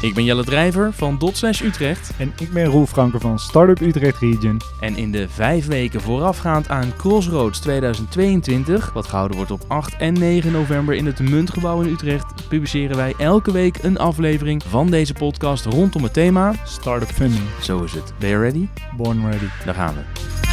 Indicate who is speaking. Speaker 1: Ik ben Jelle Drijver van Dotslash Utrecht.
Speaker 2: En ik ben Roel Franker van Startup Utrecht Region.
Speaker 1: En in de vijf weken voorafgaand aan Crossroads 2022, wat gehouden wordt op 8 en 9 november in het Muntgebouw in Utrecht, publiceren wij elke week een aflevering van deze podcast rondom het thema.
Speaker 2: Startup Funding,
Speaker 1: Zo is het. Ben je ready?
Speaker 2: born ready.
Speaker 1: Daar gaan we.